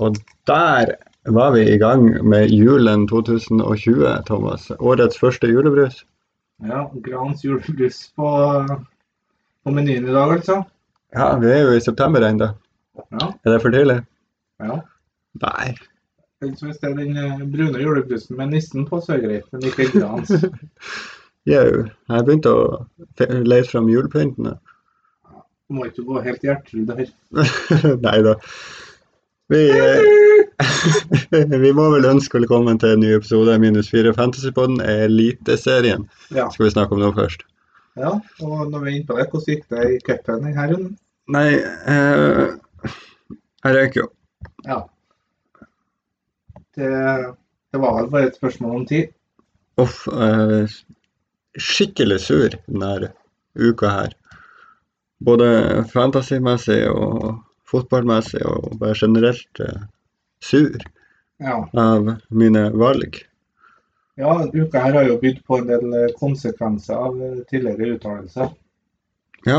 Og der var vi i gang med julen 2020, Thomas. Årets første julebrus. Ja, Grans julebrus på, på menyen i dag, altså. Ja, vi er jo i september ennå. Ja, Er det for tidlig? ja. Nei. Ellers hvis det er den eh, brune julebrusen med nissen på, så er det greit. Men ikke Grans. Jau. Jeg begynte å fe- lete fram julepyntene. Må ikke gå helt hjertelig der. Nei da. Vi, eh, vi må vel ønske velkommen til en ny episode av Minus 4 Fantasypodden, Eliteserien. Ja. Skal vi snakke om noe først? ja, og når vi er inne på det, hvordan gikk det i cupen denne runden? Nei, eh, jeg røyker jo. Ja. Det, det var vel bare et spørsmål om tid. Uff, eh, skikkelig sur denne uka her. Både fantasymessig og fotballmessig og bare generelt eh, sur Ja. av mine valg. Ja, uka her har jo bydd på en del eh, konsekvenser av eh, tidligere uttalelser. Ja,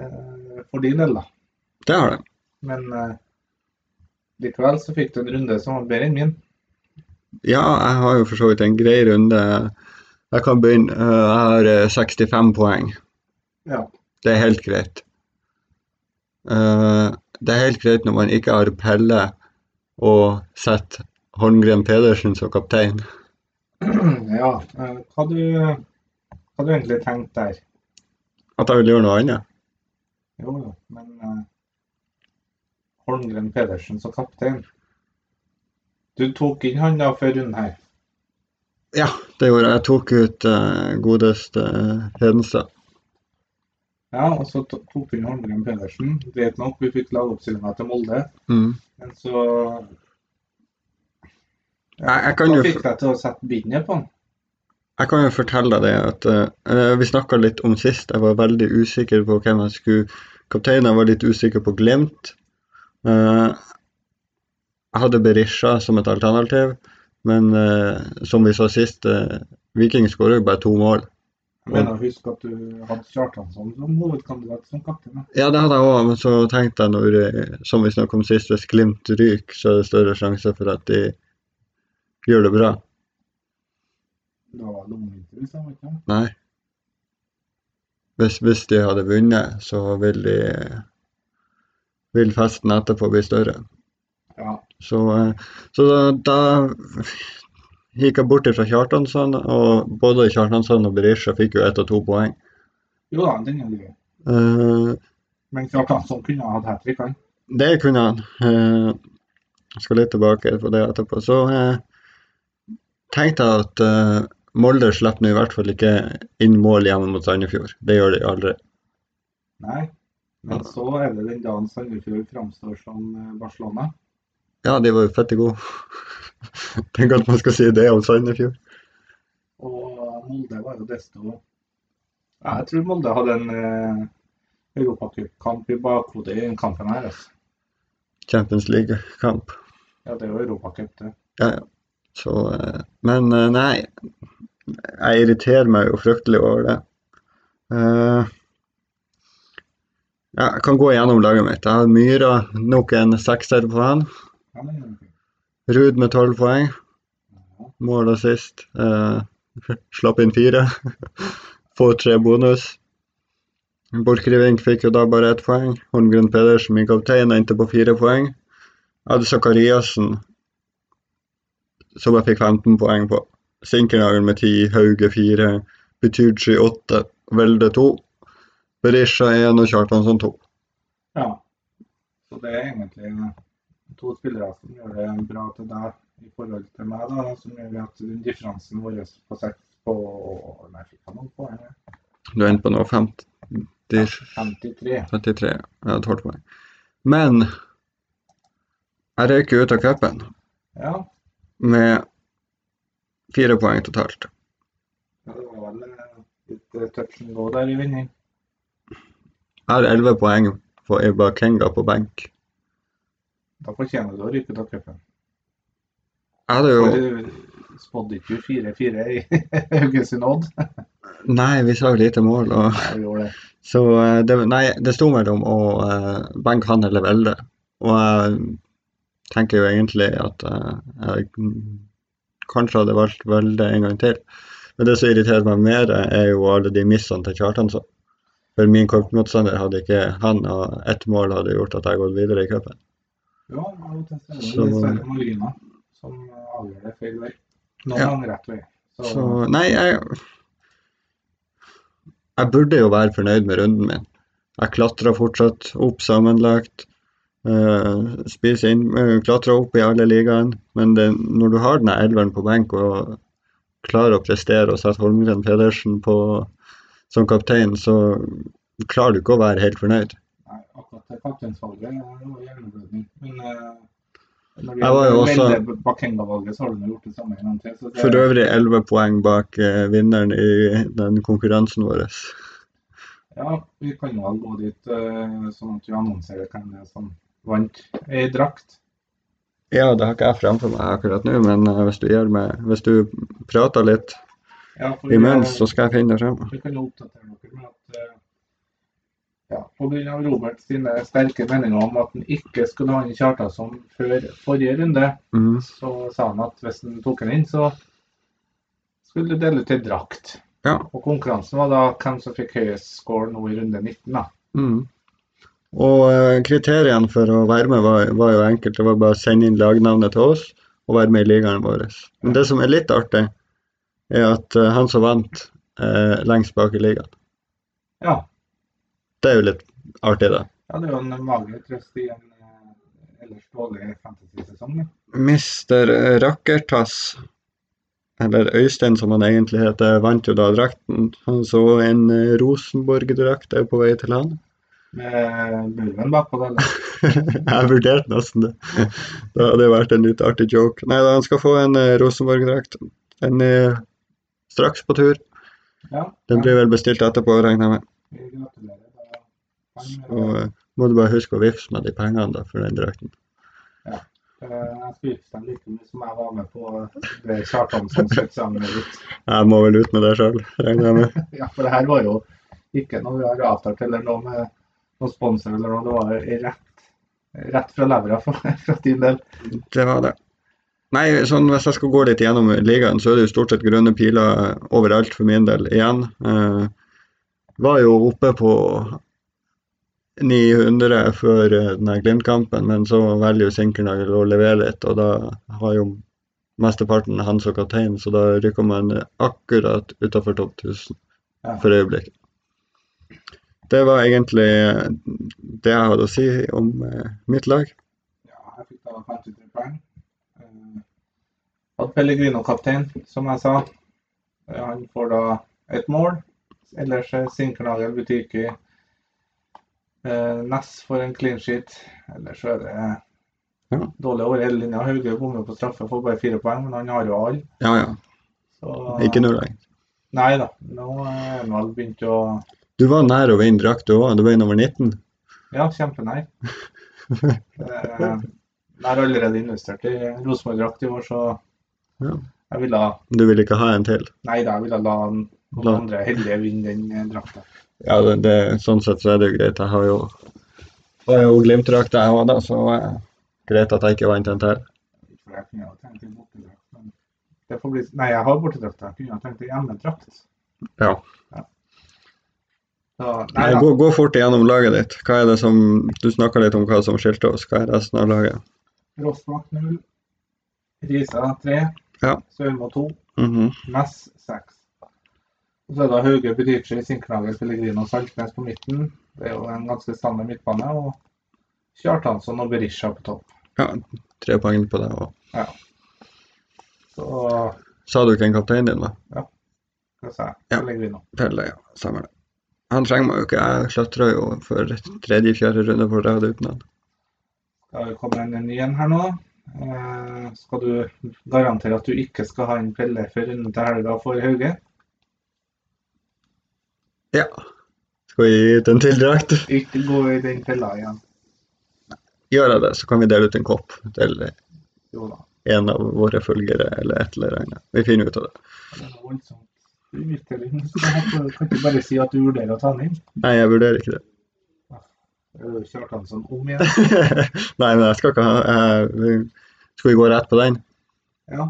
eh, For din del, da. det har det. Men eh, likevel så fikk du en runde som var bedre enn min. Ja, jeg har jo for så vidt en grei runde. Jeg kan begynne. Eh, Jeg har eh, 65 poeng. Ja. Det er helt greit. Eh, det er helt greit når man ikke har Pelle og setter Holmgren Pedersen som kaptein. ja. eh, Hva du, hva du egentlig tenkte der? At jeg vil gjøre noe annet. Jo, jo, men eh, Holmgren Pedersen som kaptein. Du tok inn han da før runden her. Ja, det gjorde jeg. Jeg tok ut eh, godeste eh, Hedenstad. Ja, og så to- tok vi inn Holmgren Pedersen. Greit nok, vi fikk lagoppstillinga til Molde. Mm. Men så Jeg, jeg, kan Da jo, fikk f- deg til å sette bindet på han. jeg kan jo fortelle deg det at eh, vi snakka litt om sist. Jeg var veldig usikker på hvem jeg skulle kapteine. Jeg var litt usikker på Glimt. Eh, jeg hadde Berisha som et alternativ, men eh, som vi sa sist, eh, Viking skårer jo bare to mål. Jeg mener, husk at du hadde Kjartansson som hovedkandidat som kaptein. da. Ja, det hadde jeg òg, men så tenkte jeg når, eh, som vi snakket om sist, hvis Glimt ryker, så er det større sjanse for at de gjør det bra. Det var lommevittig, hvis jeg vet ikke. Nei. Hvis, hvis de hadde vunnet, så vil de vil festen etterpå bli større. Ja. Så, eh, så da, da gikk jeg bort fra Kjartansson, og både Kjartansson og Berisha fikk jo ett og to poeng. Jo da, den er livet. Eh, Men Kjartansson kunne ha hatt hat trick, han. Det kunne han. Eh, Jeg skal litt tilbake på det etterpå. Så eh, tenkte jeg at eh, Molde slipper nå i hvert fall ikke inn mål hjemme mot Sandefjord. Det gjør de aldri. Nei. Men Ja. så er det den dagen Sandefjord framstår som eh, Barcelona. Ja, de var jo fette gode. Tenk at man skal si det om Sandefjord. Og Molde var jo desto ja, Jeg tror Molde hadde en eh, europacupkamp i bakhodet i den kampen her. Altså. Champions League-kamp. Ja, det er jo europacup, det. Ja, ja. Så, eh, men eh, nei, jeg irriterer meg jo fryktelig over det. Eh, ja, jeg kan gå gjennom laget mitt. Jeg har Myra, nok en sekser på han. Ja, det er jo fint. Ruud med tolv poeng. Mål og sist. Eh, slapp inn fire. Får tre bonus. Borchgrevink fikk jo da bare ett poeng. Holmgren Pedersen, min kaptein, endte på fire poeng. Jeg hadde Zakariassen, som jeg fikk 15 poeng på. Sinkernagel med 10, Hauge 4, Butuji 8, Velde 2, Berisha 1 og Kjartansson 2. ja. Så det er egentlig eh, to spillere som gjør det bra til deg i forhold til meg, da, som gjør at den differansen vår på seks på Nei, fikk jeg noen poeng? jeg? Du endte på nå 50 53. 33. Jeg hadde 12 poeng. Men jeg røyk jo ut av cupen Ja, med fire poeng totalt. ja, det var vel eh, litt eh, touch and go der i vinning. Jeg har 11 poeng på Iba Kenga på benk. Da fortjener du å ryke ut av cupen. Jeg hadde jo Du Spådde ikke du 4-4 i Haugesund Odd? Nei, vi sa jo lite mål, og Ja, vi gjorde det. så eh, det, Nei, det sto mellom å eh, benke han eller Velde. Og jeg tenker jo egentlig at eh, jeg mm, kanskje hadde valgt Velde en gang til. Men det som irriterer meg mer, eh, er jo alle de missene til Kjartansson. For min cupmotstander hadde ikke han, og ett mål hadde gjort at jeg gått videre i cupen. Jo, det er jo dessverre- Så- dessverre marginer som avgjør det feil vei. Noen Ja. ganger rett vei. Så, Så nei, jeg Jeg burde jo være fornøyd med runden min. Jeg klatra fortsatt opp sammenlagt. Uh, spiser inn eh, Klatra opp i alle ligaene. Men det, når du har den her elveren på benk og klarer å prestere og sette Holmgren Pedersen på som kaptein, så klarer du ikke å være helt fornøyd. Nei, akkurat det kapteinsvalget var jo hjerneblødning. Men eh, når Jeg var jo også- velger Bakenga-valget, så har du nå gjort det samme en gang til. Så det, For øvrig 11 poeng bak eh, vinneren i den konkurransen vår. Ja, vi kan vel gå dit eh, sånn at vi annonserer hvem det er som vant ei drakt. Ja, det har ikke jeg framfor meg akkurat nå, men eh, hvis du, gjør meg, hvis du prater litt Ja, for imens, eh, så skal jeg finne det frem. Vi kan jo oppdatere dere med at eh, ja, pga. Robert sine sterke meninger om at han ikke skulle ha inn Kjartansson før forrige runde, Mhm. så sa han at hvis han tok han inn, så skulle det dele ut ei drakt. Ja. Og konkurransen var da hvem som fikk høyest score nå i runde 19. da. Mhm. Og eh, kriteriene for å være med var, var jo enkelt. Det var bare å sende inn lagnavnet til oss og være med i ligaen vår. Men det som er litt artig, er at eh, han som vant eh, lengst bak i ligaen, Ja, det er jo litt artig, da. ja det er jo en mager trøst i en eh, ellers dårlig fantasy-sesong. da. Mister Rakkertass, eller Øystein som han egentlig heter, vant jo da drakten. Han så en eh, Rosenborg-drakt er på vei til han. Med Burven bakpå der. da. Jeg vurderte nesten det. Det hadde vært en litt artig joke. Nei da, han skal få en eh, Rosenborg-drakt. En eh, straks på tur. Ja, Den blir vel bestilt etterpå, regner jeg med. vi gratulerer. Da. Han, Og eh, må du bare huske å vippse med de pengene da, for den drakten. Eh, Jeg spiste dem like mye som jeg var med på det Kjartan som satt sammen med litt. Jeg må vel ut med det sjøl, regner jeg med. Ja, for det her var jo ikke noe vi har avtalt eller noe med noen sponsor eller noe. Det var jo rett, rett fra levra for, fra din del. Det var det. Nei, sånn hvis jeg skal gå litt gjennom ligaen, så er det jo stort sett grønne piler overalt for min del igjen. Eh, var jo oppe på 900 før eh, den her Glimt-kampen, men så velger jo Sinkernagel å levere litt, og da har jo mesteparten han som kaptein, så da rykker man akkurat utafor topp 1000 Ja. for øyeblikket. Det var egentlig eh, det jeg hadde å si om eh, mitt lag. Ja, jeg fikk da 53 poeng. Eh, Hadde Pellegrino kaptein, som jeg sa. Eh, Han får da et mål. Ellers er Sinkernagel Butiki. Eh, Ness får en clean sheet. Ellers så er det Ja. dårlig over hele linja. Hauge bommer på straffe, får bare fire poeng, men han har jo alle. Ja ja, Så eh, ikke noe lag. Nei da. Nå er han vel begynt å Du var nær å vinne drakt, du òg. Du var nummer 19. Ja, kjempenei. Eh, Jeg har allerede investert i Rosenborg-drakt i år, så Ja. jeg ville ha Du vil ikke ha en til? Nei da, jeg ville la noen La- andre heldige vinne den eh, drakta. Ja, det, det, sånn sett så er det jo greit. Jeg har jo, har jo Glimt-drakta, jeg òg, da, så eh, greit at jeg ikke vant en til. For jeg kunne jo tenkt en bortedrakt, men det får bli Nei, jeg har bortedrakt. Jeg kunne jo tenkt en hjemmedrakt. Ja. Så, nei Nei, da. gå, gå fort igjennom laget ditt. Hva er det som, Du snakka litt om hva som skilte oss. Hva er resten av laget? Rossbakk null. Risa tre. Ja. Sørmo to. Mhm. Ness seks. Og så er det Hauge, Bedici, Sinkernagel, Pellegrino og Saltnes på midten. Det er jo en ganske standard midtbane. Og Kjartansson og Berisha på topp. Ja, tre poeng på deg òg. Så Sa du hvem kapteinen din var? hva sa jeg? Ja. Pellegrino. Pelle, ja. Samme det. Han trenger meg jo ikke. Jeg klatra jo for tredje-fjerde runde på rad uten han. Skal vi komme inn en ny en her nå? Eh, skal du garantere at du ikke skal ha inn Pelle før runden til helga for Hauge? Ja. Skal vi gi ut en til drakt? Ikke gå i den fella igjen. Gjør jeg det, så kan vi dele ut en kopp til Jo da. en av våre følgere eller et eller annet. Vi finner ut av det. Det er voldsomt. Du virkelig, du skal ha på- kan ikke bare si at du vurderer å ta den inn. Nei, jeg vurderer ikke det. eh, Kjartansson om igjen. Nei, men jeg skal ikke ha eh, vi- Skal vi gå rett på den? Ja,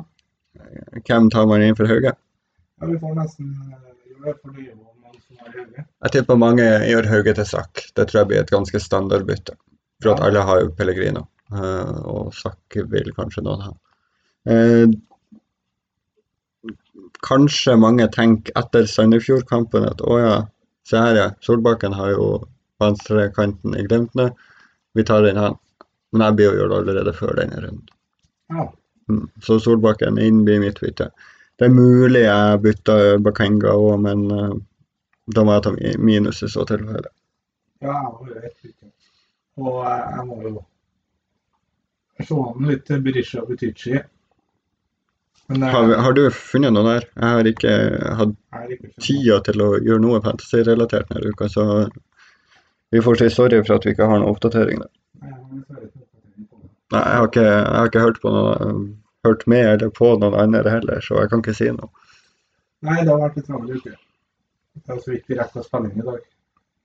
Hvem tar man inn for Hauge? ja vi får nesten eh, gjøre det, for det er jo mange som har høye. Jeg tipper mange gjør Hauge til Sakk. Det tror jeg blir et ganske standard bytte. For at Ja. alle har jo Pellegrino, eh, og Sakk vil kanskje noen ha. Eh, Kanskje mange tenker etter Sandefjord-kampen at å ja, se her ja, Solbakken har jo venstrekanten i Glimt nå, vi tar inn han. Men jeg blir å gjøre det allerede før denne runden. Ja, Mm, Så Solbakken inn blir mitt bytte. Det er mulig jeg bytter Bakenga òg, men eh, da må jeg ta mi- minus i så tilfelle. ja jeg har jo ett bytte. Og eh, jeg må jo se an litt til Berisha Butichi. Men det Har, vi- har du funnet noe der? Jeg har ikke hatt er ikke skjønt. tida til å gjøre noe fantasy-relatert denne uka, så vi får si sorry for at vi ikke har noen oppdatering der. Nei, jeg har dessverre ikke oppdatering på det. Nei, jeg har ikke, jeg har ikke hørt, på noe, eh, hørt med eller på noen andre heller, så jeg kan ikke si noe. Nei, det har vært en travel uke. Det er så vidt vi rekker spilling i dag.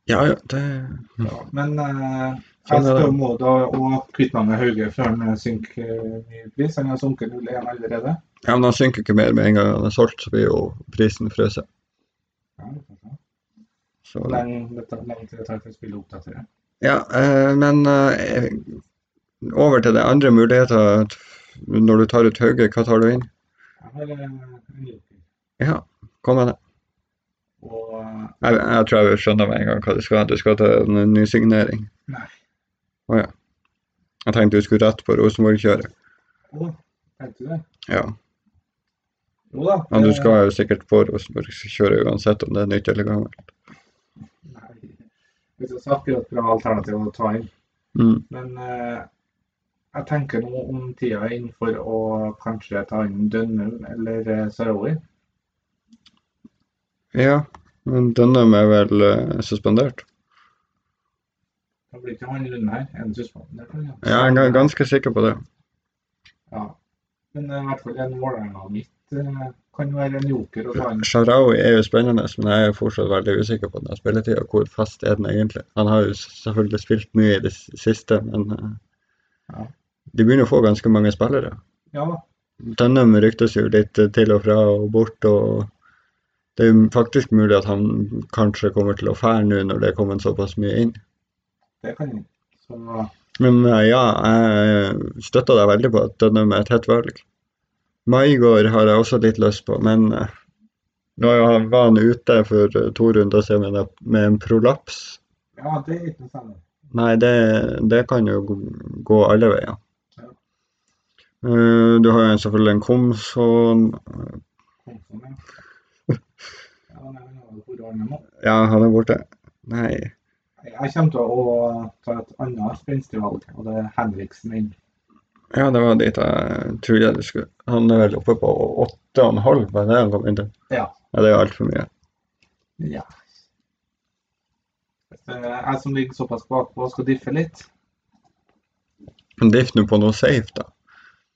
Ja, ja, det Ja, men eh, jeg Mm. Sånn er det. skal må da og kvitte meg med Hauge før han synker eh, mye i pris. Han har sunket 0-1 allerede. Ja, men han synker ikke mer med en gang han er solgt, så blir jo prisen frøset. Ja, vi får se. Så- Hvor lenge det tar- lenge til det tar for spillet å oppdatere. Ja, eh, men eh, over til det andre muligheter at når du tar ut Hauge, hva tar du inn? Jeg har eh, en joker. Ja, kom med det. Og eh, Jeg, jeg tror jeg skjønner med en gang hva du skal ha. Du skal til en ny signering. Nei. Å ja. Jeg tenkte du skulle rett på Rosenborg-kjøret. å, tenkte du det? Ja, Jo da. men du det- skal jo sikkert på Rosenborg-kjøret uansett om det er nytt eller gammelt. Eh, Nei. Det er så akkurat bra alternativ å ta inn. Mm. Men eh, jeg tenker nå om tida er inne for å kanskje ta inn Dønnum eller eh, Sarawi. Ja, men denne er vel eh, suspendert. Da blir ikke han Lund her. Er han suspendert? eller? Ja, jeg er ganske sikker på det. Ja. Men eh, i hvert fall en Vålerenga mitt eh, kan være en joker å ta inn. Sharawi er jo spennende, men jeg er jo fortsatt veldig usikker på den spilletida. Hvor fast er den egentlig? Han har jo s- selvfølgelig spilt mye i det s- siste, men eh, Ja. de begynner å få ganske mange spillere. Ja, Tønnem ryktes jo litt eh, til og fra og bort, og det er jo faktisk mulig at han kanskje kommer til å fære nå når det er kommet såpass mye inn. det kan jeg. Så Men eh, ja, jeg støtter deg veldig på at Dønnum er et hett valg. Maigård har jeg også litt lyst på, men eh, nå er jo han- var han ute for eh, to runder siden med, en- med en prolaps. ja, det er ikke noe særlig. Nei, det, det kan jo gå gå alle veier. Ja. Eh, Du har jo en- selvfølgelig en Komson. Kom for meg. Ja, nei, men jeg har jo vært ordentlig nå. Ja, han er borte. Nei. Jeg kommer til å ta et annet spenstig valg, og det er Henriksen inn. Ja, det var dit jeg trodde du skulle. Han er vel oppe på åtte og en halv, var det han kom inn til? Ja. Ja, det er jo altfor mye. Ja. Jeg som ligger såpass bakpå, skal diffe litt. Men drift nå på noe safe, da.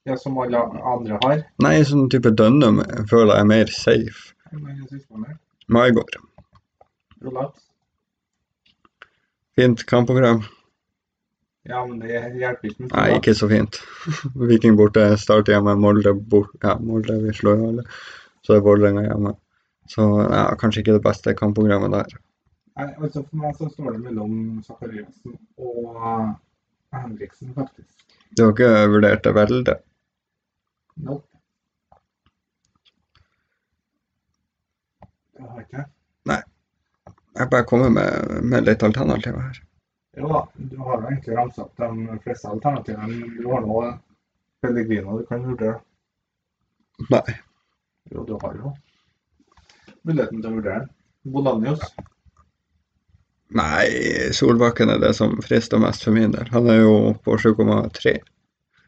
Det som alle andre har. Nei, sånn type Dønnum føler jeg er mer safe. Men jeg synes på meg. Maigård. Prolaps. Fint kampprogram. Ja, men det hjelper ikke med Nei, prolaps. ikke så fint. Viking borte, Start hjemme, Molde borte. Ja, Molde, vi slår jo alle. Så er Vålerenga hjemme. Så ja, kanskje ikke det beste kampprogrammet der. Nei, altså For meg så står det mellom Sakariassen og Henriksen, faktisk. Du har ikke vurdert det veldig. Nope. Det har jeg ikke. Jeg bare kommer med, med litt alternativer her. Jo da, du har jo egentlig ramset opp de fleste alternativene. men Du har nå Pellegrino du kan vurdere. Nei. Jo, du har jo muligheten til å vurdere den. Bolanius. Nei, Solbakken er det som frister mest for min del. Han er jo på 7,3.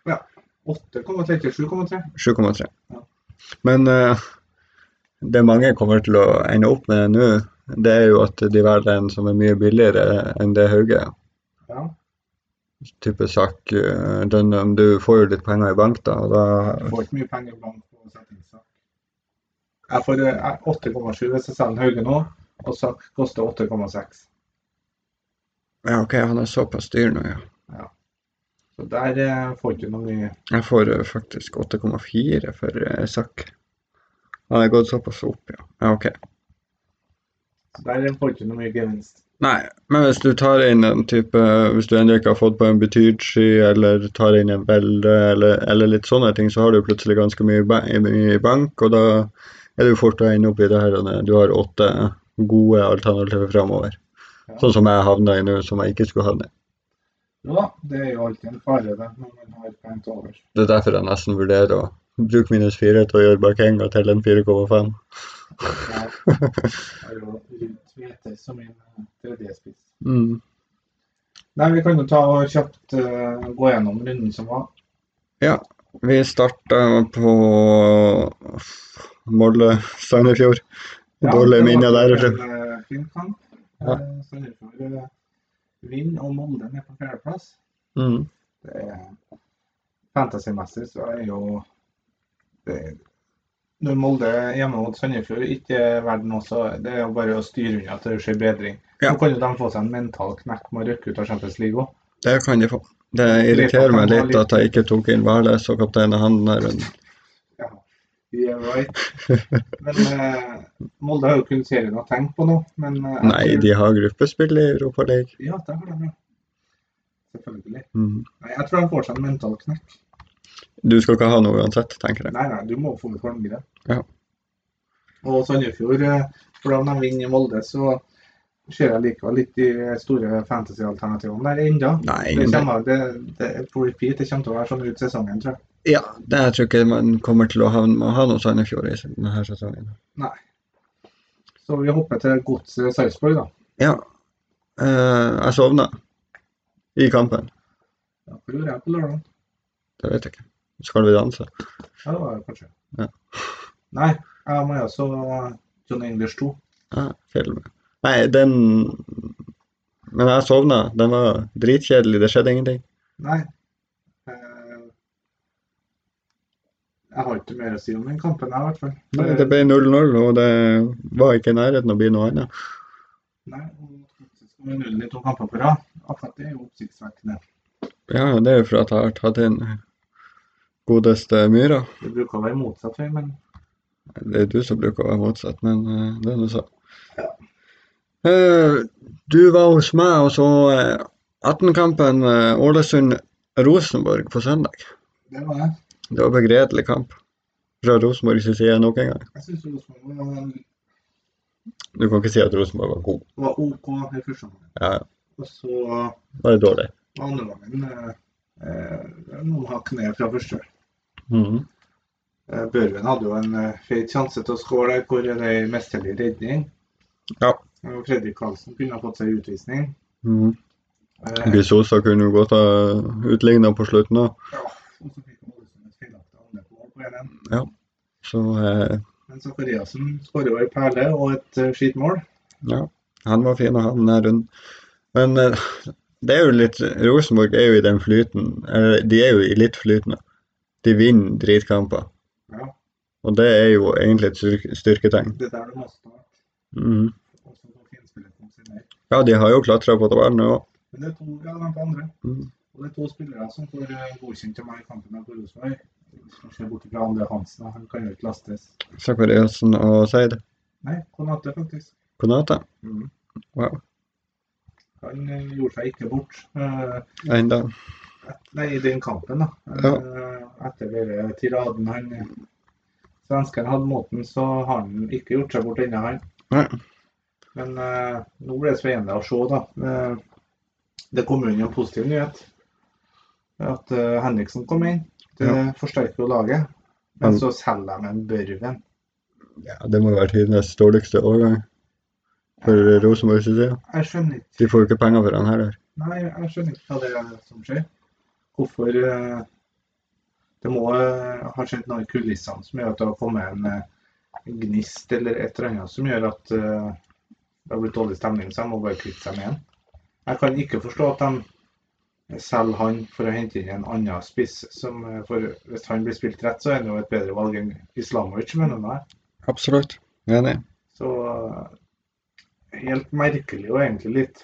8,3 til 7,3. 7,3. Ja. Men eh, det mange kommer til å ende opp med nå, det er jo at de velger en som er mye billigere enn det Hauge er. Ja. Type sak eh, Dønnum. Du får jo litt penger i bank, da, og Jeg da får ikke mye penger i bank på settingssak. Jeg får eh, 8,7 hvis jeg selger Hauge nå, og Sak koster 8,6. Ja, OK, han er såpass dyr nå, ja. Så der eh, får ikke noe mye Jeg får eh, faktisk 8,4 for eh, Sak. Han er gått såpass opp, ja. Ja, OK. så der får ikke noe mye gevinst. Nei, men hvis du tar inn en type Hvis du ennå ikke har fått på en Betydsky, eller tar inn en Velde, eller, eller litt sånne ting, så har du plutselig ganske mye ba- i i bank, og da er du fort å ende opp i det her Anne. Du har åtte gode alternativer framover. Ja. Sånn som jeg havna i nå, som jeg ikke skulle havne i. Jo da, det er jo alltid en fare det, når man har pent over. Det er derfor jeg nesten vurderer å bruke minus fire til å gjøre Bakenga til en 4,5. Jeg har jo rundt hvete som min tredjespiss. Mm. Nei, vi kan jo ta og kjapt eh, gå gjennom runden som var. Vi starta på Molde Sandefjord. Ja, Dårlige det minner var derfra. en eh, fin kamp. Ja. Eh, Sandefjord eh, vinner, og Molde ned på fjerdeplass. Mm. Det er fantasymessig, så er jo det, Når Molde hjemme mot Sandefjord ikke er verden også, det er jo bare å styre unna til det skjer bedring. Ja. Så kan jo de få seg en mental knekk med å røkke ut av Champions League òg. Det kan de få. Det irriterer meg litt at jeg ikke tok inn Værnes og kaptein av han der. men- Ja. Yeah, right. Men eh, Molde har jo kun serien å tenke på nå. Men eh, jeg Nei, tror- de har gruppespill i Europaligaen. Ja, det har de jo. Selvfølgelig. Mm. Nei, jeg tror de får seg en mental knekk. Du skal ikke ha noe uansett, tenker jeg. Nei, nei, du må få ut Holmgren. Ja. Og Sandefjord, eh, hvordan de vinner i Molde, så ser jeg likevel litt de store fantasy-alternativene der ennå. Nei, Det ingen det. kommer, det, det er på repeat, det kommer til å være sånn ut sesongen, tror jeg. Ja, det jeg tror ikke man kommer til å ha, må ha noe Sandefjord i denne sesongen. Så vi hopper til Godset Sarpsborg, da. Ja. Eh, jeg sovna i kampen. Ja, hvor gjorde jeg på lørdag? Det vet jeg ikke. Skal vi danse? Ja, det var jeg kanskje. Ja. Nei, jeg må jo også John English 2. Ja, film. Nei, den Men jeg sovna. Den var dritkjedelig. Det skjedde ingenting. Nei. Eh, Jeg har ikke mer å si om den kampen, jeg, i hvert fall. Nei, det ble 0-0, og det var ikke i nærheten å bli noe annet. Nei, og Godset skal være nullen i to kamper på rad. Akkurat det er jo oppsiktsvekkende. Ja, det er jo for at jeg har tatt inn godeste Myra. Det bruker å være motsatt vei, men Det er du som bruker å være motsatt, men eh, det er nå så. Eh, Du var hos meg og så eh, 18-kampen eh, Ålesund-Rosenborg på søndag. det var jeg. Det var begredelig kamp fra Rosenborg sin side nok en gang. Jeg syns Rosenborg var, Du kan ikke si at Rosenborg var god. var OK i første omgang. Ja, Og så var bare dårlig. andre gangen eh, eh, noen hakk ned fra første. Mhm. Eh, Børven hadde jo en eh, feit sjanse til å skåre der, hvor det er en mesterlig redning. Ja. Og Fredrik Karlsen kunne ha fått seg utvisning. Mm. Eh, Bisosa kunne jo godt ha utligna på slutten òg, ja, og så fikk Ålesund et feilaktig angrep på mål på 1-1. så eh, Men Zakariassen skårer jo ei perle og et eh, skitmål. ja. Han var fin å ha den her runden. Men eh, det er jo litt Rosenborg er jo i den flyten Eller de er jo i litt flyten. da. De vinner dritkamper. Ja. Og det er jo egentlig et styr- styrketegn. Det er der du må starte. Mhm. Og så får finspillet komme seg ned. Ja, de har jo klatra på tabellen nå. Men det er to, ja, de på andre. Mm. Og det er to spillere som får eh, godkjent til meg i kampen her på Rosenborg. Hvis man ser bort fra Andre Hansen, da, han kan jo ikke lastes. Sakariassen og Seid. Nei, Konate faktisk. Konata. Mhm. Wow. Han eh, gjorde seg ikke bort. eh, Enda. et- Nei, i den kampen, da. Eh, Etter denne tiraden han eh, svensken hadde mot den, så har han ikke gjort seg bort ennå, han. Nei. Men eh, nå blir det spennende å se, da. Eh, det kom jo inn en positiv nyhet. At eh, Henriksen kom inn. Det forsterker jo laget. Men Han- så selger de en Børven. Ja, det må jo være tidenes dårligste overgang for Rosenborg sin side. Jeg skjønner ikke De får jo ikke penger for den heller. Nei, jeg skjønner ikke hva det er som skjer. Hvorfor eh, Det må eh, ha skjedd noe i kulissene som gjør at det har kommet en eh, gnist eller et eller annet som gjør at eh, det har blitt dårlig stemning, så jeg må bare kvitte seg med han. Jeg kan ikke forstå at de selger han for å hente inn en annen spiss. Som, eh, for hvis han blir spilt rett, så er han jo et bedre valg enn Islamovic, mener jeg. Absolutt. Enig. Så eh, helt merkelig og egentlig litt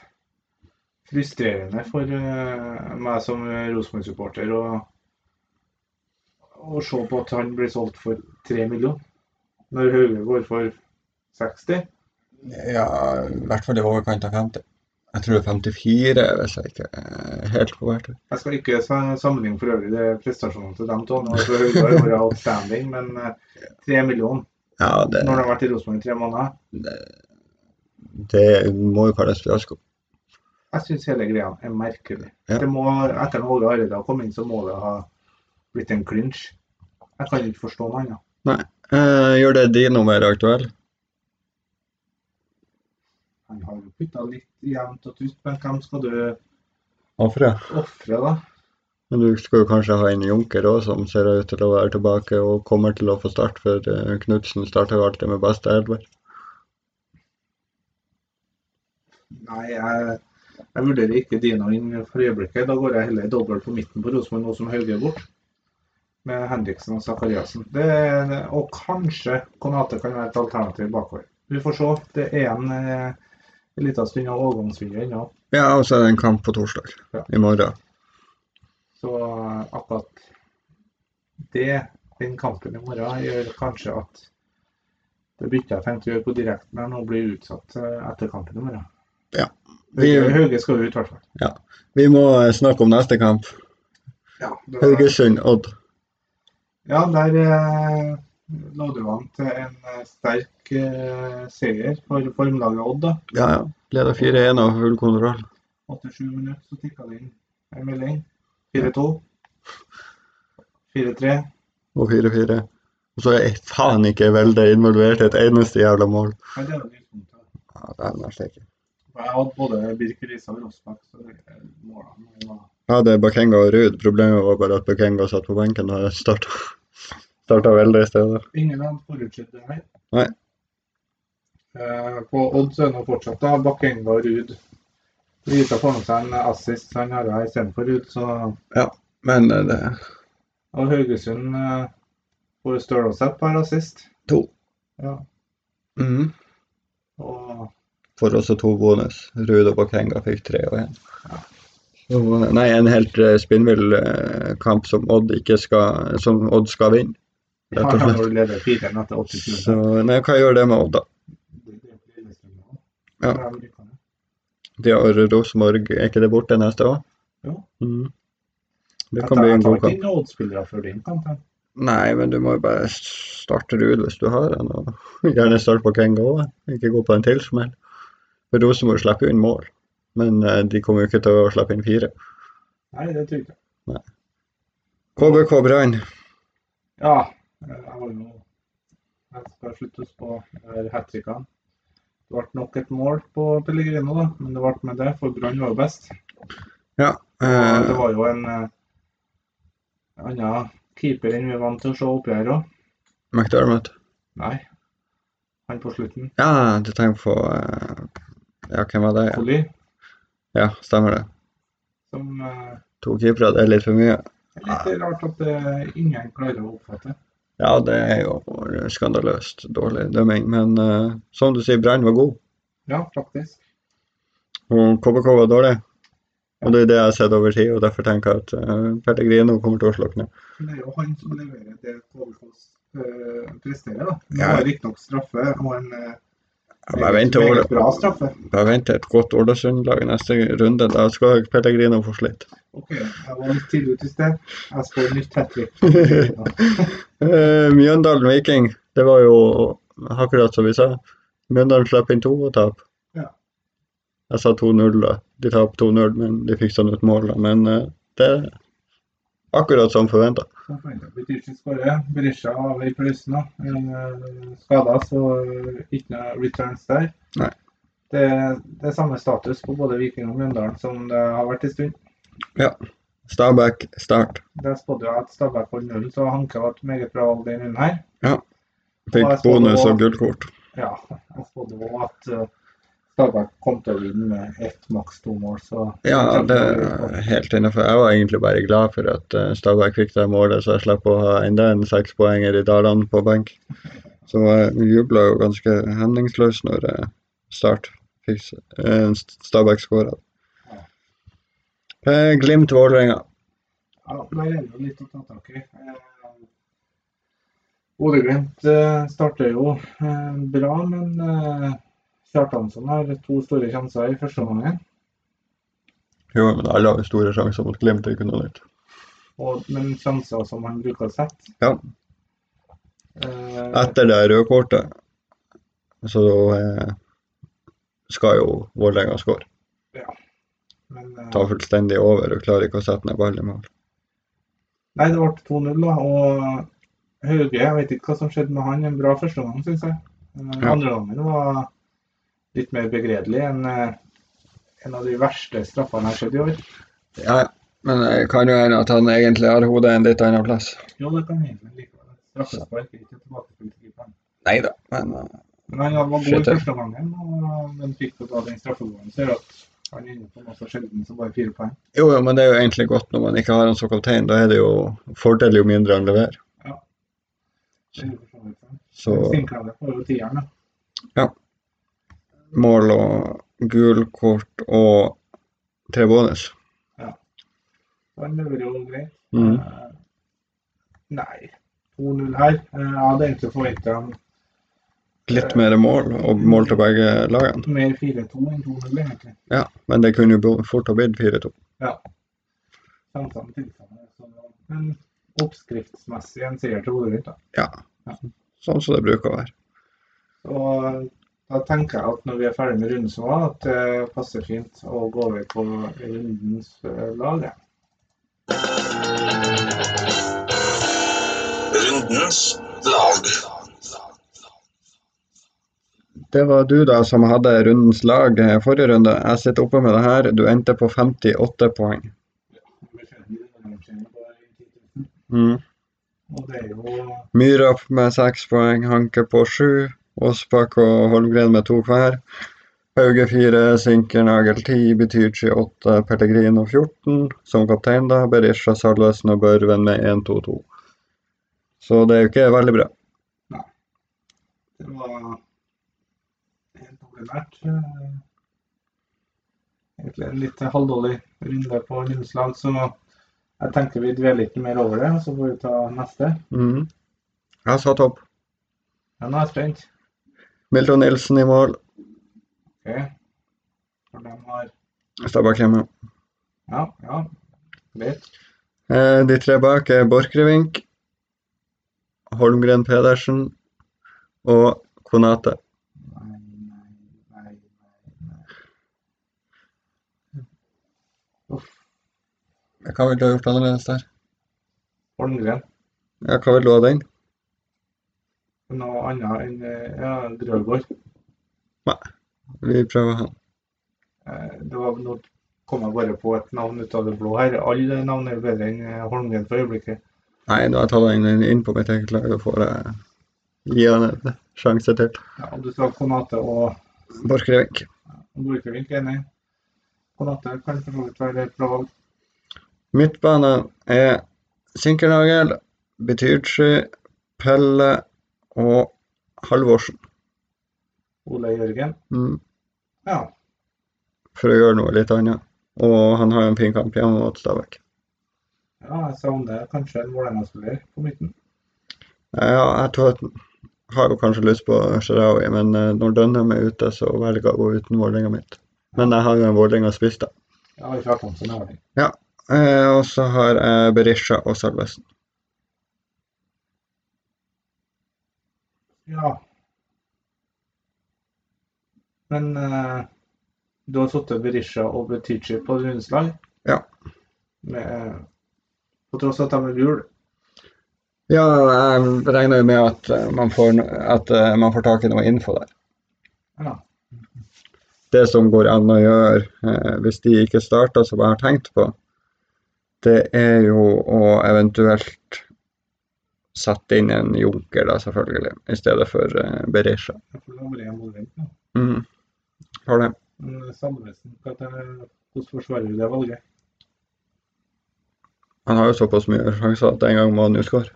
frustrerende for eh, meg som Rosenborg-supporter å, å se på at han blir solgt for 3 millioner, når Hauge går for 60. Ja, i hvert fall i overkant av 50. Jeg tror det er 54, hvis jeg ikke er helt på hvert. Jeg skal ikke sa- sammenligne for øvrig det prestasjonene til dem to. Nå har Hauge har vært outstanding, men eh, 3 millioner Ja, det, når han har vært i Rosenborg i tre måneder det må jo kalles fiasko. Jeg syns hele greia er merkelig. Ja. Det må, etter at Åge Hareide har kommet inn, så må det ha blitt en clinch. Jeg kan ikke forstå noe annet. Eh, gjør det Dino mer aktuell? Han har jo putta litt jevnt og trutt, men hvem skal du Ofre? ofre, da? Men du skal jo kanskje ha en Junker òg, som ser ut til å være tilbake og kommer til å få start, for eh, Knudsen starter jo alltid med beste elver. Nei, jeg, jeg vurderer ikke Dino inn for øyeblikket. Da går jeg heller dobbelt på midten på Rosenborg, nå som Hauge er bort. Med Henriksen og Zakariassen. Det er- Og kanskje Konate kan være et alternativ bakover. Vi får se. Det er en eh, liten stund av overgangsvinduet ennå. Ja, og så er det en kamp på torsdag Ja. i morgen. Så akkurat det, den kampen i morgen, gjør kanskje at det byttet jeg tenkte å gjøre på direkten her nå, blir utsatt eh, etter kampen i morgen. Ja. Vi, Hauge Hauge skal ut, i hvert fall. vi må eh, snakke om neste kamp. Ja, det var- Haugesund-Odd. ja der eh, lå du an til en eh, sterk eh, seier for formlaget Odd. da. Ja, ja. Leder 4-1 og full kontroll. 87 minutter, så tikka det inn en melding. 4-2. 4-3. Og 4-4. Og så er faen ikke Velde involvert i et eneste jævla mål. Nei, det er jo litt vondt, da. Ja, det er nesten ikke. For Jeg hadde både Birker Risa og Rosbach, så eh, målene var Ja, det er Bakenga og Ruud. Problemet var bare at Bakenga satt på benken og starta starta Velde i stedet. Ingen hadde forutsett det her. Nei. Eh, på Odd så er det nå fortsatt da Bakkenga og Ruud. Risa får med seg en assist, så han har det istedenfor Ruud. Så... Men eh, det Og Haugesund eh, får Stølåseth per assist. To. Ja. Mhm. Og får også to bonus. Ruud og Bakenga fikk tre og én. Så, eh, Nei, en helt eh, spinnvill eh, kamp som Odd ikke skal, som Odd skal vinne. Rett og han slett. har jo ledet fireren etter 80 Så nei, hva gjør det med Odd, da? Ja. De har Rosenborg, er ikke det borte neste år? Jo. Mhm. Det Det kan bli en god kamp. Jeg tar ikke inn Odd-spillere før din kamp. jeg. Nei, men du må jo bare starte Ruud hvis du har en, og gjerne starte på Kenga òg. Ikke gå på en til smell. For Rosenborg slipper jo inn mål, men eh, de kommer jo ikke til å slippe inn fire. Nei, det tror jeg ikke. KBK Brann. Ja, eh, jeg har jo Jeg skal slutte å spå hat trickene. Det ble nok et mål på Pellegrino, da, men det ble med det, for Brann var jo best. Og det Eh, var jo en eh, annen keeper enn vi er vant til å se oppi her òg. McDermott. Nei, han på slutten. Ja, du tenker på eh, Ja, hvem var det? Ja, Folly, ja stemmer det. som eh, To keepere, det er litt for mye. er litt rart at eh, ingen klarer å oppfatte. Ja, det er jo skandaløst dårlig dømming, men eh, som du sier, Brann var god, Ja, faktisk. og KBK var dårlig. Og det er det jeg har sett over tid, og derfor tenker jeg at eh, Pellegrino kommer til å slukne. Men det er jo han som leverer det Kålfoss eh, presterer, da. Det Ja. var riktignok straffe og en eh, Jeg meget, venter, meget bra straffe. jeg venter et godt Ålesund-lag neste runde. Da skal Pellegrino få slitt. Ok, jeg var litt tidlig ute i sted. Jeg spår nytt hat trick. Eh, Mjøndalen Viking, det var jo akkurat som vi sa. Mjøndalen slapp inn to og tap. Ja. Jeg sa 2-0 da. De tapte 2-0, men de fikk sånn ut mål da. Men eh, det er akkurat som forventa. Sånn Berisha skårer. Berisha av i pausen. da. Eh, Skada, så eh, ikke noe returns der. Nei. Det, det er samme status på både Viking og Mjøndalen som det har vært en stund. Stabæk start. Der spådde jeg at Stabæk holdt nullen, så Hanke har vært meget bra all den runden her. Og jeg Fikk spådde bonus også- og gullkort. Ja, jeg spådde òg at eh, Stabæk kom til å vinne med ett, maks to mål, så Ja, det er helt innafor. Jeg var egentlig bare glad for at eh, Stabæk fikk det målet, så jeg slapp å ha enda en sekspoenger i Daland på benk. Så jeg jubla jo ganske hemningsløst når eh, Start fikk s- eh, Stabæk skåra. Eh, Glimt-Vålerenga. Ja, der er det jo litt å ta tak i. Eh, Bodø-Glimt eh, starter jo eh, bra, men eh, Kjartansson har to store sjanser i første omgang. Jo, men alle har jo store sjanser mot Glimt. Det kunne litt. og- Men sjanser som han bruker å sette. Ja. Eh, Etter det røde kortet, så eh, skal jo Vålerenga skåre. men, eh, Ta fullstendig over og klarer ikke å sette ned ball i mål. Nei, det ble 2-0, da. Og Hauge, jeg vet ikke hva som skjedde med han. En bra første gang, syns jeg. Eh, Ja. Andre gangen var litt mer begredelig enn eh, en av de verste straffene jeg har sett i år. Ja, ja. men eh, det kan jo hende at han egentlig har hodet en litt annen plass. Jo, det kan jeg egentlig likevel. Straffespark er ikke tilbakespill til keeperen. Nei da, men eh, Men han var god Shit, i ja. første gangen, og men fikk jo da den straffegården. Ser at han er inne på noe så sjelden som bare fire poeng. jo, jo, men det er jo egentlig godt når man ikke har han som kaptein. Da er det jo fordel jo mindre han leverer. Det er jo for så vidt sant. Så Sinkhavet får jo tieren, da. mål og gul kort og tre bonus. Så han leverer jo greit. Mm. Eh, Nei, 2-0 her. Eh, Jeg hadde egentlig forventa Litt mer mål, og mål til begge lagene. mer 4-2 enn 2-0, egentlig. Ja, men det kunne jo bo- fort ha blitt 4-2. Samtidig tilsvarende. Så, men oppskriftsmessig en seier til Bodø-Glimt. da. Sånn som det bruker å være. Og da tenker jeg at når vi er ferdig med runden som var, at det passer fint å gå over på rundens eh, lag. ja. Rundens lag. Det var du da som hadde rundens lag eh, forrige runde. Jeg sitter oppe med det her. Du endte på 58 poeng. Beskjeden i rundens på 10.000. Mm. Og det er jo Myra med seks poeng, Hanke på sju, Aasbakk og Holmgren med to hver. Hauge fire, Sinkernagel ti, Betychi åtte, Pellegrino 14. Som kaptein, da, Berisha Salvesen og Børven med 1-2-2. Så det er jo ikke veldig bra. Det var helt ordinært. eh, Egentlig en litt halvdårlig runde på Lindesland, så jeg tenker vi dveler ikke mer over det, og så får vi ta neste. Mhm. Jeg satt opp. Ja, nå er jeg spent. Milton Nilsen i mål. Ok. For de har Stabæk hjemme. Ja, ja. Greit. Eh, De tre bak er Borchgrevink, Holmgren Pedersen og Konate. Nei, nei, nei, nei, nei. Hva ville du ha gjort annerledes der? Holmgren. Ja, hva ville du ha den? Noe annet enn eh, ja, Grøgaard. Vi prøver han. Eh, Det var, nå kom jeg bare på et navn ut av det blå her. Alle navn er jo bedre enn eh, Holmgren for øyeblikket. Nei, nå har jeg tatt han inn, inn på mitt eget lag, da får jeg gi han en sjanse til. Ja, og du sa Konate og Borchgrevink. Borchgrevink er enig. Konate kan for så vidt være et bra valg. Midtbanen er Sinkernagel, Betyrdsi, Pelle og Halvorsen. Ole Jørgen. Mm, Ja. For å gjøre noe litt annet. Og han har jo en fin kamp hjemme mot Stabæk. ja, jeg savner kanskje en Vålerenga-spiller på midten. Ja, jeg tror at har jo kanskje lyst på Sharawi, men eh, når Dønnum er ute, så velger jeg å gå uten Vålerenga mitt. Men jeg har jo en Vålerenga-spiss, da. Ja, ikke Håkonsen har det. Eh, og så har jeg Berisha og Salvesen. Ja. Men eh, du har satt Berisha og Butichi på rundens lag. Ja. Med, på tross av at de er gule. Ja, jeg regner jo med at eh, man får, no- at eh, man får tak i noe info der. Ja. Det som går an å gjøre eh, hvis de ikke starter, som jeg har tenkt på, det er jo å eventuelt sette inn en junker, da, selvfølgelig, i stedet for eh, Berisha. Jeg får lov å le mot nå. Mm. Har det. Men Salvesen, hva er- hvordan forsvarer du det valget? Han har jo såpass mye sjanser at en gang må han jo skåre.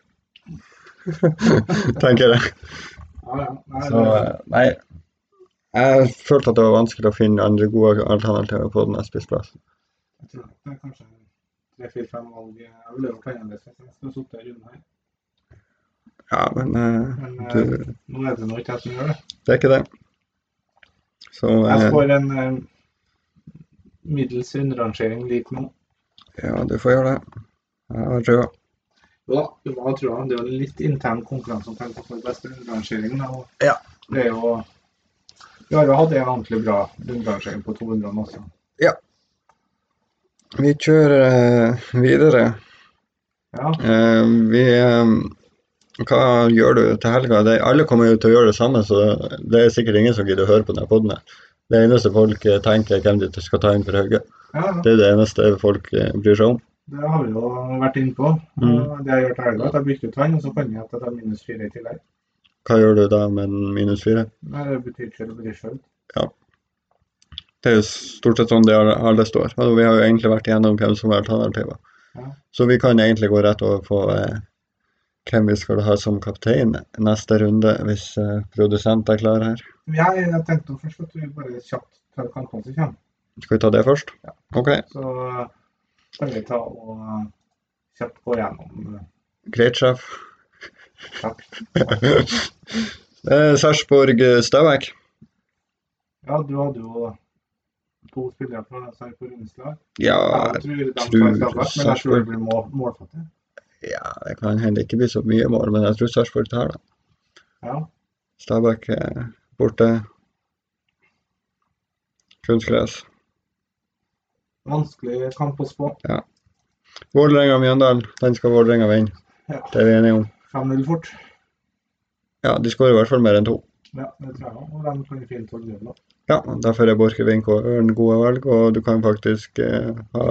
Tenker jeg. Ja, ja. Nei, Så det- eh, nei. Jeg følte at det var vanskelig å finne andre gode alternativer på den spissplassen. Jeg tror nok det er kanskje tre-fire-fem valg. Jeg ville gjort annerledes hvis jeg skulle sittet i runden her. Ja, men eh, Men eh, du, nå er det nå ikke jeg som gjør det. det er ikke det. Så Jeg eh, får en eh, middels rundrangering lik nå. ja, du får gjøre det. Jeg har trua. Jo da, det var trua. Det er jo litt intern konkurranse om hvem som får best rundrangering. da, og Ja. Det er jo Vi har jo hatt en ordentlig bra rundrangering på 200 nå også. Vi kjører eh, videre. Ja. Eh, vi eh, Hva gjør du til helga? Det, alle kommer jo til å gjøre det samme, så det er sikkert ingen som gidder å høre på denne poden. Det eneste folk eh, tenker, er hvem de skal ta inn for Hauge. ja, Det er det eneste folk eh, bryr seg om. det har vi jo vært inne på. Mm. Det jeg gjør til helga, er at jeg bytter ut han, og så kan jeg at jeg tar minus fire i tillegg. Hva gjør du da med en minus fire? Det betyr ikke det blir sjøl. Det er jo stort sett sånn det alle- alle står. Og vi har jo egentlig vært igjennom hvem som er alternativer. Ja. Så vi kan egentlig gå rett over på eh, hvem vi skal ha som kaptein neste runde, hvis eh, produsent er klar her. Jeg, jeg tenkte jo først at vi bare kjapt tar kampene som kommer. Skal vi ta det først? Ja. Ok, Så eh, kan vi ta og eh, kjapt gå gjennom eh, greit, sjef. kjapt. Eh, Sarpsborg eh, Stabæk. Ja, du hadde jo to spillere fra Sarpsborg Rundeslag. Ja, Jeg tror de tror tar Stabæk, men jeg tror Sarpsborg- det blir mål, målfattig. ja, det kan hende ikke bli så mye mål, men jeg tror Sarpsborg tar det. Ja. Stabæk eh, borte. Kunstgress. Vanskelig kamp å spå. Vålerenga-Mjøndalen, den skal Vålerenga vinne. Ja. Det er vi enige om. 5-0 fort. Ja, de skårer i hvert fall mer enn to. Ja, det tror jeg òg. Og de kan fint holde nivået. Ja, og derfor er Borchgrevink og Ørn gode valg, og du kan faktisk eh, ha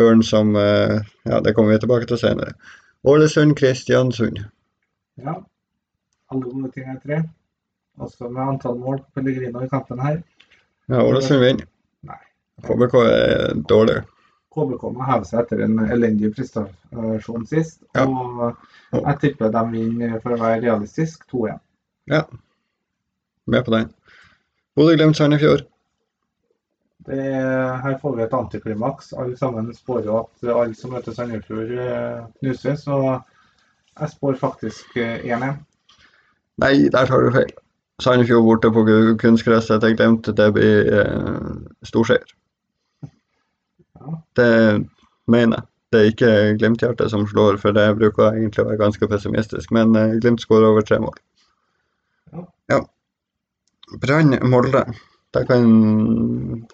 Ørn som eh, Ja, det kommer vi tilbake til senere. Ålesund-Kristiansund. Ja. Alle gode ting er tre. Også med antall mål på Pellegrino i kampen her. Ja, Ålesund vinner. Nei. KBK er dårlig. KBK må heve seg etter en elendig prestasjon sist. Ja. Og jeg tipper de vinner, for å være realistisk, 2-1. Med på den. Bodø-Glimt-Sandefjord. Det er, her får vi et antiklimaks. Alle sammen spår jo at alle som møter Sandefjord, eh, knuses. Og jeg spår faktisk eh, 1-1. Nei, der tar du feil. Sandefjord borte på gu- kunstgresset. Jeg glemte det blir eh, storseier. Ja. Det mener jeg. Det er ikke Glimt-hjertet som slår, for det bruker jeg egentlig å være ganske pessimistisk, men eh, Glimt skårer over tre mål. Ja. Ja. Brann Molde. Der kan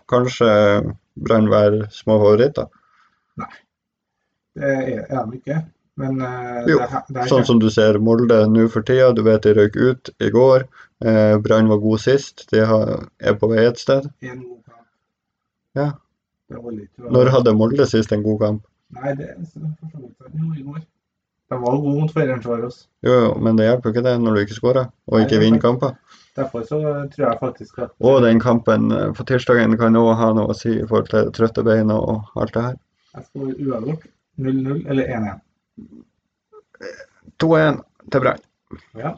kanskje Brann være små favoritter. Det er er de ikke. Men eh, Jo, det, her- det er Sånn som du ser Molde nå for tida. Du vet de røyk ut i går. Eh, Brann var god sist. De har, er på vei et sted. en god kamp. Ja. Det holder ikke. å- Når hadde Molde sist en god kamp? Nei, det er så- for så vidt sant. Jo, i går. De var jo gode mot Ferencvaros. Jo, jo, men det hjelper jo ikke det når du ikke skårer og Nei, det ikke er vinner sant. kamper. Derfor så eh, tror jeg faktisk at Og den kampen eh, på tirsdagen kan òg ha noe å si i forhold til trøtte bein og alt det her. jeg spår uavgjort. 0-0 eller 1-1. 2-1 til Brann. Ja.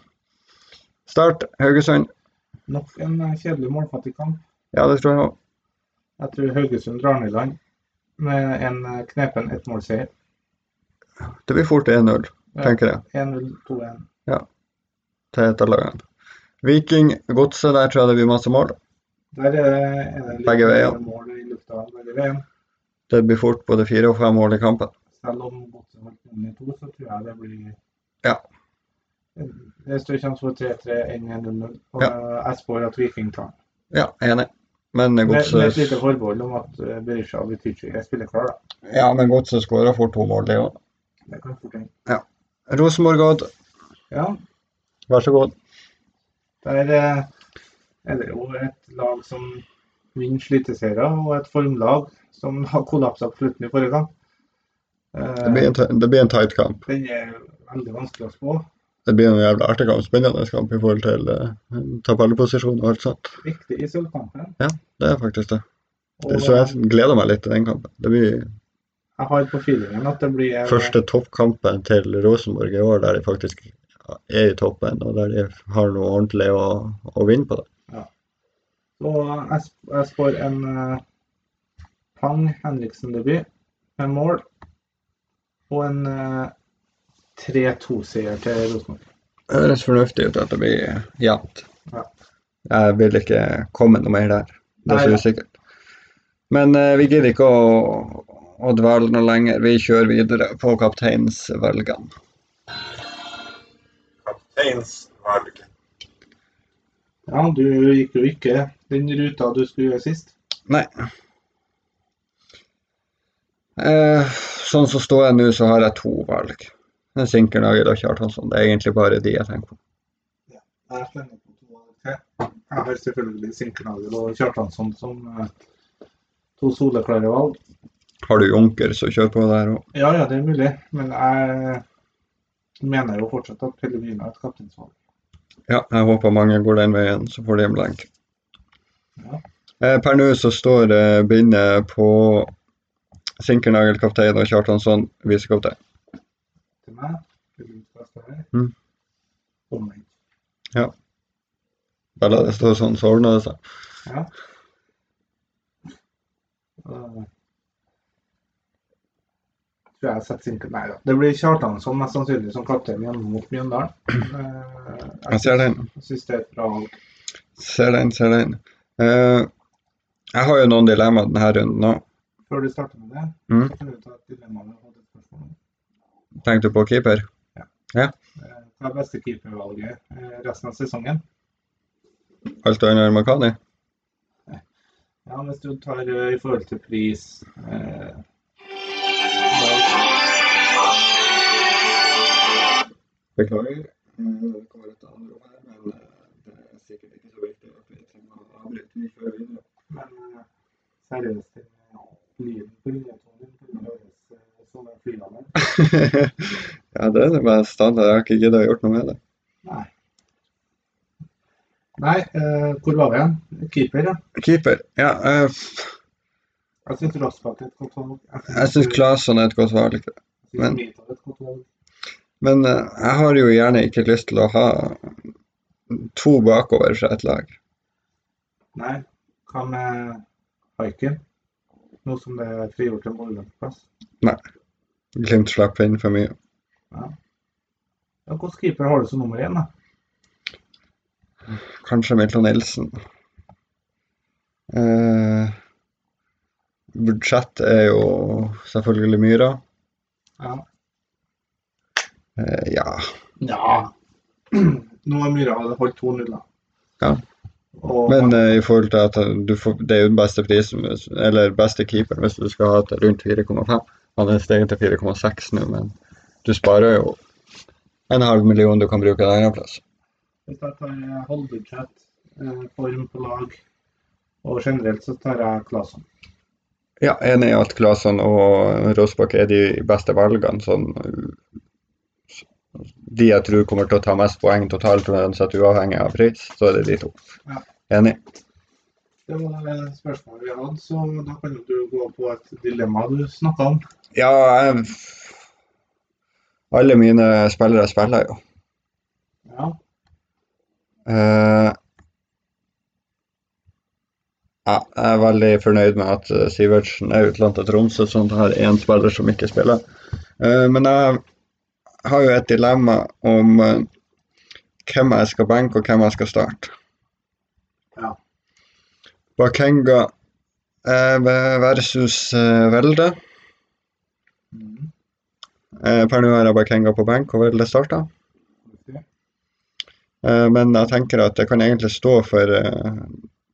Start Haugesund. Nok en eh, kjedelig målfattig kamp. Ja, det tror jeg òg. Jeg tror Haugesund drar ned i land med en eh, knepen ettmålseier. Det blir fort 1-0, tenker jeg, 1-0-2-1. til et av lagene. Viking Godset, der tror jeg det blir masse mål. Der er det- er det litt Begge veier. mer mål i lufta begge veier. Det blir fort både fire og fem mål i kampen. Selv om Godset holdt nullen i to, så tror jeg det blir Ja. Det er større sjanse for 3-3 enn 1-0. Og Ja. eh, jeg spår at Viking tar den. Ja, enig. Men Med, med et lite Godset forbehold om at eh, Berisha og Butichi er spilleklar, da. ja, men Godset skårer fort to mål, det òg. Det kan fort hende. Rosenborg Odd, Ja, vær så god. Der eh, er det jo et lag som vinner sliteserier, og et formlag som har kollapsa på slutten i forrige kamp. Det blir Eh, en, t- det blir en tight kamp. Den er veldig vanskelig å spå. Det blir en jævla artig kamp, spennende kamp i forhold til eh, tabellposisjon og alt sånt. Viktig i sølvkampen. Det er faktisk det. Og Det- Så eh, jeg gleder meg litt til den kampen. Det blir jeg har på feelingen at det blir en første toppkampen til Rosenborg i år der de faktisk er i toppen, og der de har noe ordentlig å, å vinne på. det. Og jeg, sp- jeg spår en eh, pang Henriksen-debut med mål. Og en eh, 3-2-seier til Rosenborg. Det høres fornuftig ut at det blir jevnt. Ja. Jeg vil ikke komme noe mer der. Det er Nei, så usikkert. Men eh, vi gidder ikke å, å dvele noe lenger. Vi kjører videre på kapteinsvalgene. Kapteinsvalg. Ja, du gikk jo ikke den ruta du skulle gjøre sist. Nei. Eh, sånn som står jeg nå, så har jeg to valg. Det er Sinkernagel og Kjartansson. Det er egentlig bare de jeg tenker på. Jeg slenger på to av tre. Jeg har selvfølgelig Sinkernagel og Kjartansson som eh, to soleklare valg. Har du Junker, så kjør på der òg. Ja, ja, det er mulig, men jeg mener jo fortsatt at Pellegrino er et kapteinsvalg. Ja, jeg håper mange går den veien, så får de en blenk. Ja. Eh, per nå så står eh, bindet på Sinkernagel kaptein og Kjartansson visekaptein. Til meg Pellegrino skal stå her. Mm. Omvendt. Bare la det stå sånn, så ordner det seg. Ja. Eh, Tror jeg setter Sinken Nei da. Det blir Kjartansson mest sannsynlig som kaptein hjemme mot Mjøndalen. Eh, Jeg ser den. Jeg syns det er et bra valg. Ser den, ser den. Eh, jeg har jo noen dilemmaer denne runden òg. Før du starter med det, Mm. så kan du ta et dilemma vi har fått et spørsmål om. Tenkte du på keeper? Eh, Hva er beste keepervalget eh, resten av sesongen? Alt annet enn Makani? Ja, hvis du tar eh, i forhold til pris eh, da- Beklager. Eh, Det kommer et annet ord her, men eh, det er sikkert ikke så viktig at vi trenger å avbryte. Vi kjører videre. Men eh, seriøst, eh, lyden på linjetonen kunne høres eh, som en flyalarm. ja, det er det bare standard. Jeg har ikke giddet å gjort noe med det. Nei. Nei, eh, hvor var vi igjen? Keeper, ja. Keeper. Ja, eh, Jeg syns Raspat er et godt valg. jeg syns Claesson er et godt valg. Jeg men- synes Mito er et godt valg. Men eh, jeg har jo gjerne ikke lyst til å ha to bakover fra et lag. Nei, hva med Haiken? Nå som det er frigjort en målgangsplass. Glimt slapp inn for mye. Ja, Hvilken keeper har du som nummer én, da? Kanskje Milton Nilsen. Eh, budsjett er jo selvfølgelig Myra. Ja. Eh, ja. Nå har Myhra hadde holdt 2-0, da. Ja. Og, Men eh, i forhold til at du får, det er jo den beste prisen, hvis- eller beste keeperen, hvis du skal ha til rundt 4,5. Han er steget til 4,6 nå, men du sparer jo en halv million du kan bruke en annen plass. Hvis jeg tar eh, holdbudsjett, eh, form på lag og generelt, så tar jeg Claesson. Ja, enig i at Claesson og Rosbakk er de beste valgene. Sånn, uh, de jeg tror kommer til å ta mest poeng totalt uansett uavhengig av pris, så er det de to. Ja. Enig. Det var det spørsmålet vi hadde, så da kan jo du gå på et dilemma du snakka om. Ja, jeg, alle mine spillere spiller jo. Ja. Eh, ja, jeg er veldig fornøyd med at eh, Sivertsen er utlånt til Tromsø, sånn at jeg har én spiller som ikke spiller. Eh, men jeg har jo et dilemma om eh, hvem jeg skal benke, og hvem jeg skal starte. Ja. Bakenga eh, versus eh, Velde. Mm. Eh, per nå har jeg Bakenga på benk, og Velde starter. riktig. Eh, Men jeg tenker at jeg kan egentlig stå for eh,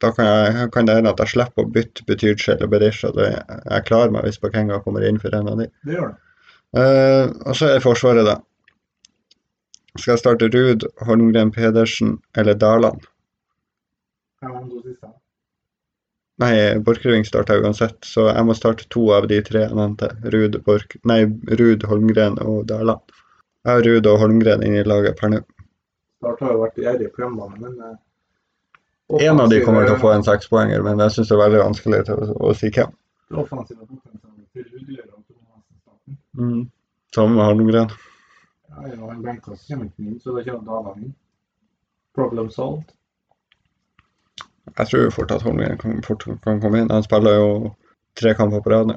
Da kan, jeg, kan det hende at jeg slipper å bytte Butydsj eller Berisha. Det, jeg klarer meg hvis Bakenga kommer inn for en av de. Det gjør det. Eh, og så er Forsvaret, da. Skal jeg starte Ruud, Holmgren Pedersen eller Daland? Hva var de to siste? Nei, Borchgrevink starter jeg uansett, så jeg må starte to av de tre jeg nevnte. Ruud, Borch... Nei, Ruud, Holmgren og Daland. Jeg har Ruud og Holmgren inne i laget per nå. Start har jo vært gjerrig på hjemmebane, men eh, En av de kommer til å offensive- få en sekspoenger, men jeg syns det er veldig vanskelig til å, å si hvem. Det offensive potensialet til Ruud gjør at du må nesten starte. den. Mm. Sammen med Holmgren. Ja, ja, en benka så kommer ikke inn, så da kommer Daland inn. Problem solved. Jeg tror jo fort at Holmgren kan, fort kan komme inn. Han spiller jo tre kamper på rad nå.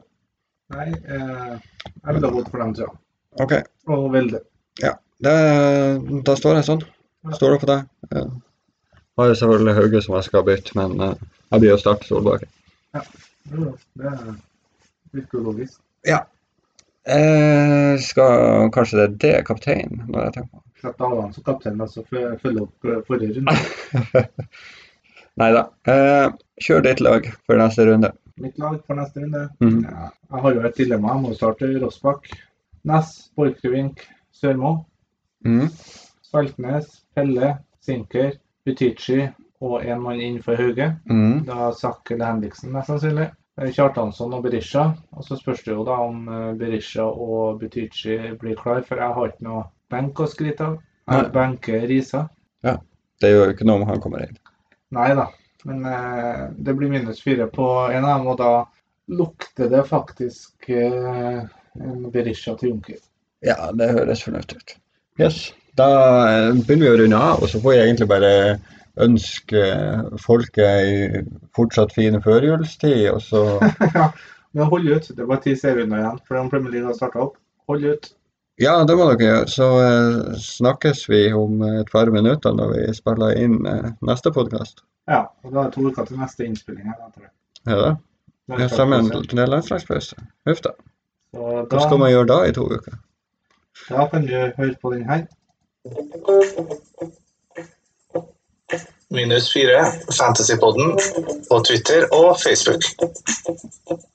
Nei, eh, jeg ville ha gått for dem tre. OK. Og veldig. Det, da står jeg sånn. Står det på deg? Ja. Har jo selvfølgelig Hauge som jeg skal bytte, men eh, jeg blir å starte Solbakken. Jo da, Det er- virker jo logisk. Eh, skal kanskje det er det kapteinen, når jeg tenker på det. Slett Allan som kaptein, altså fø- følge opp eh, forrige runde. Nei da. Eh, kjør ditt lag for neste runde. Mitt lag for neste runde. Mhm. Ja, jeg har jo et dilemma. Jeg må starte Rossbakk, Næss, Borchgrevink, Sørmo, Mhm. Sveltnes, Pelle, Sinker, Butichi og en mann innenfor Hauge. Mhm. Da Sakkel Henriksen, mest sannsynlig. Eh, Kjartansson og Berisha. Og så spørs det jo da om eh, Berisha og Butichi blir klar, for jeg har ikke noe benk å skryte av. Jeg Nei. benker Risa. Det gjør jo ikke noe om han kommer inn. Nei da, men eh, det blir minus fire på en av dem, og da lukter det faktisk eh, en Berisha til Junker. Ja, det høres fornuftig ut. Yes. Da eh, begynner vi å runde av, og så får jeg egentlig bare ønske folket ei fortsatt fin førjulstid, og så Men hold ut, det er bare ti serierunder igjen for den Premier League har starta opp. Hold ut. Ja, det må dere gjøre. Så eh, snakkes vi om eh, et par minutter når vi spiller inn eh, neste podkast. Ja, og da er det to uker til neste innspilling. her, da, tror jeg. Ja, da. Den Ja, starter sammen også. til landslagspause. Huff da. Så Hva skal da, man gjøre da i to uker? da kan du høre på den her. Minus fire, Fantasypodden på Twitter og Facebook.